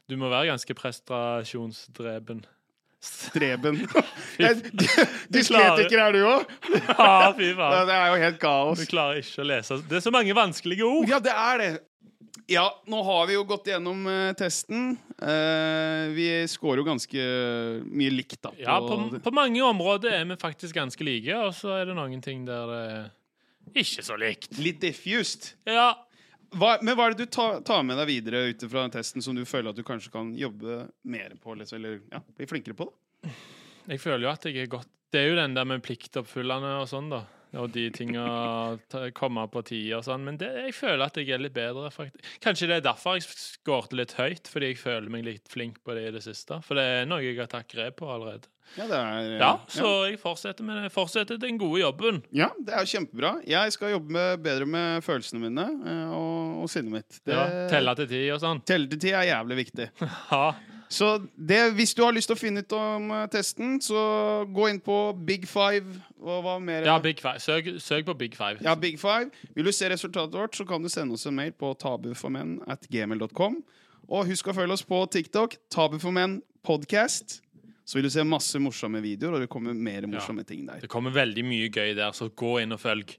[SPEAKER 2] Du må være ganske prestasjonsdrepen.
[SPEAKER 3] Streben. Jeg- Dyslektiker er du òg!
[SPEAKER 2] Ja, fy faen.
[SPEAKER 3] Det er jo helt kaos.
[SPEAKER 2] Du klarer ikke å lese. Det er så mange vanskelige ord.
[SPEAKER 3] Ja, det er det. Ja, nå har vi jo gått gjennom eh, testen. Eh, vi scorer jo ganske mye likt, da.
[SPEAKER 2] Ja, på,
[SPEAKER 3] det.
[SPEAKER 2] på mange områder er vi faktisk ganske like, og så er det noen ting der det er ikke så likt.
[SPEAKER 3] Litt diffused.
[SPEAKER 2] Ja,
[SPEAKER 3] Hva, men hva er det du tar, tar med deg videre ut fra den testen som du føler at du kanskje kan jobbe mer på? Liksom, eller ja, bli flinkere på? da?
[SPEAKER 2] jeg føler jo at jeg er godt Det er jo den der med pliktoppfyllende og sånn, da. Og de tinga ta- komme på tide og sånn. Men det, jeg føler at jeg er litt bedre, faktisk. Kanskje det er derfor jeg skårte litt høyt, fordi jeg føler meg litt flink på det i det siste. For det er noe jeg har tatt grep på allerede.
[SPEAKER 3] Ja, det er, eh,
[SPEAKER 2] Ja, så jeg fortsetter med det. Fortsetter den gode jobben.
[SPEAKER 3] ja, det er jo kjempebra. Jeg skal jobbe med, bedre med følelsene mine eh, og, og sinnet mitt. Det-
[SPEAKER 2] Ja, Telle til ti og sånn.
[SPEAKER 3] Telletid er jævlig viktig.
[SPEAKER 2] Ja.
[SPEAKER 3] Så det, hvis du har lyst til å finne ut om eh, testen, så gå inn på Big Five. Og hva mer?
[SPEAKER 2] Ja, Big Five. Søk, søk på Big Five.
[SPEAKER 3] Ja, Big Five. Vil du se resultatet vårt, så kan du sende oss en mail på tabuformenn at gmail.com. Og husk å følge oss på TikTok, tabuformenn podcast. Så vil du se masse morsomme videoer, og det kommer mer morsomme ting der.
[SPEAKER 2] Det kommer veldig mye gøy der, så gå inn og følg.